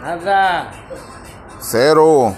Nada. Cero.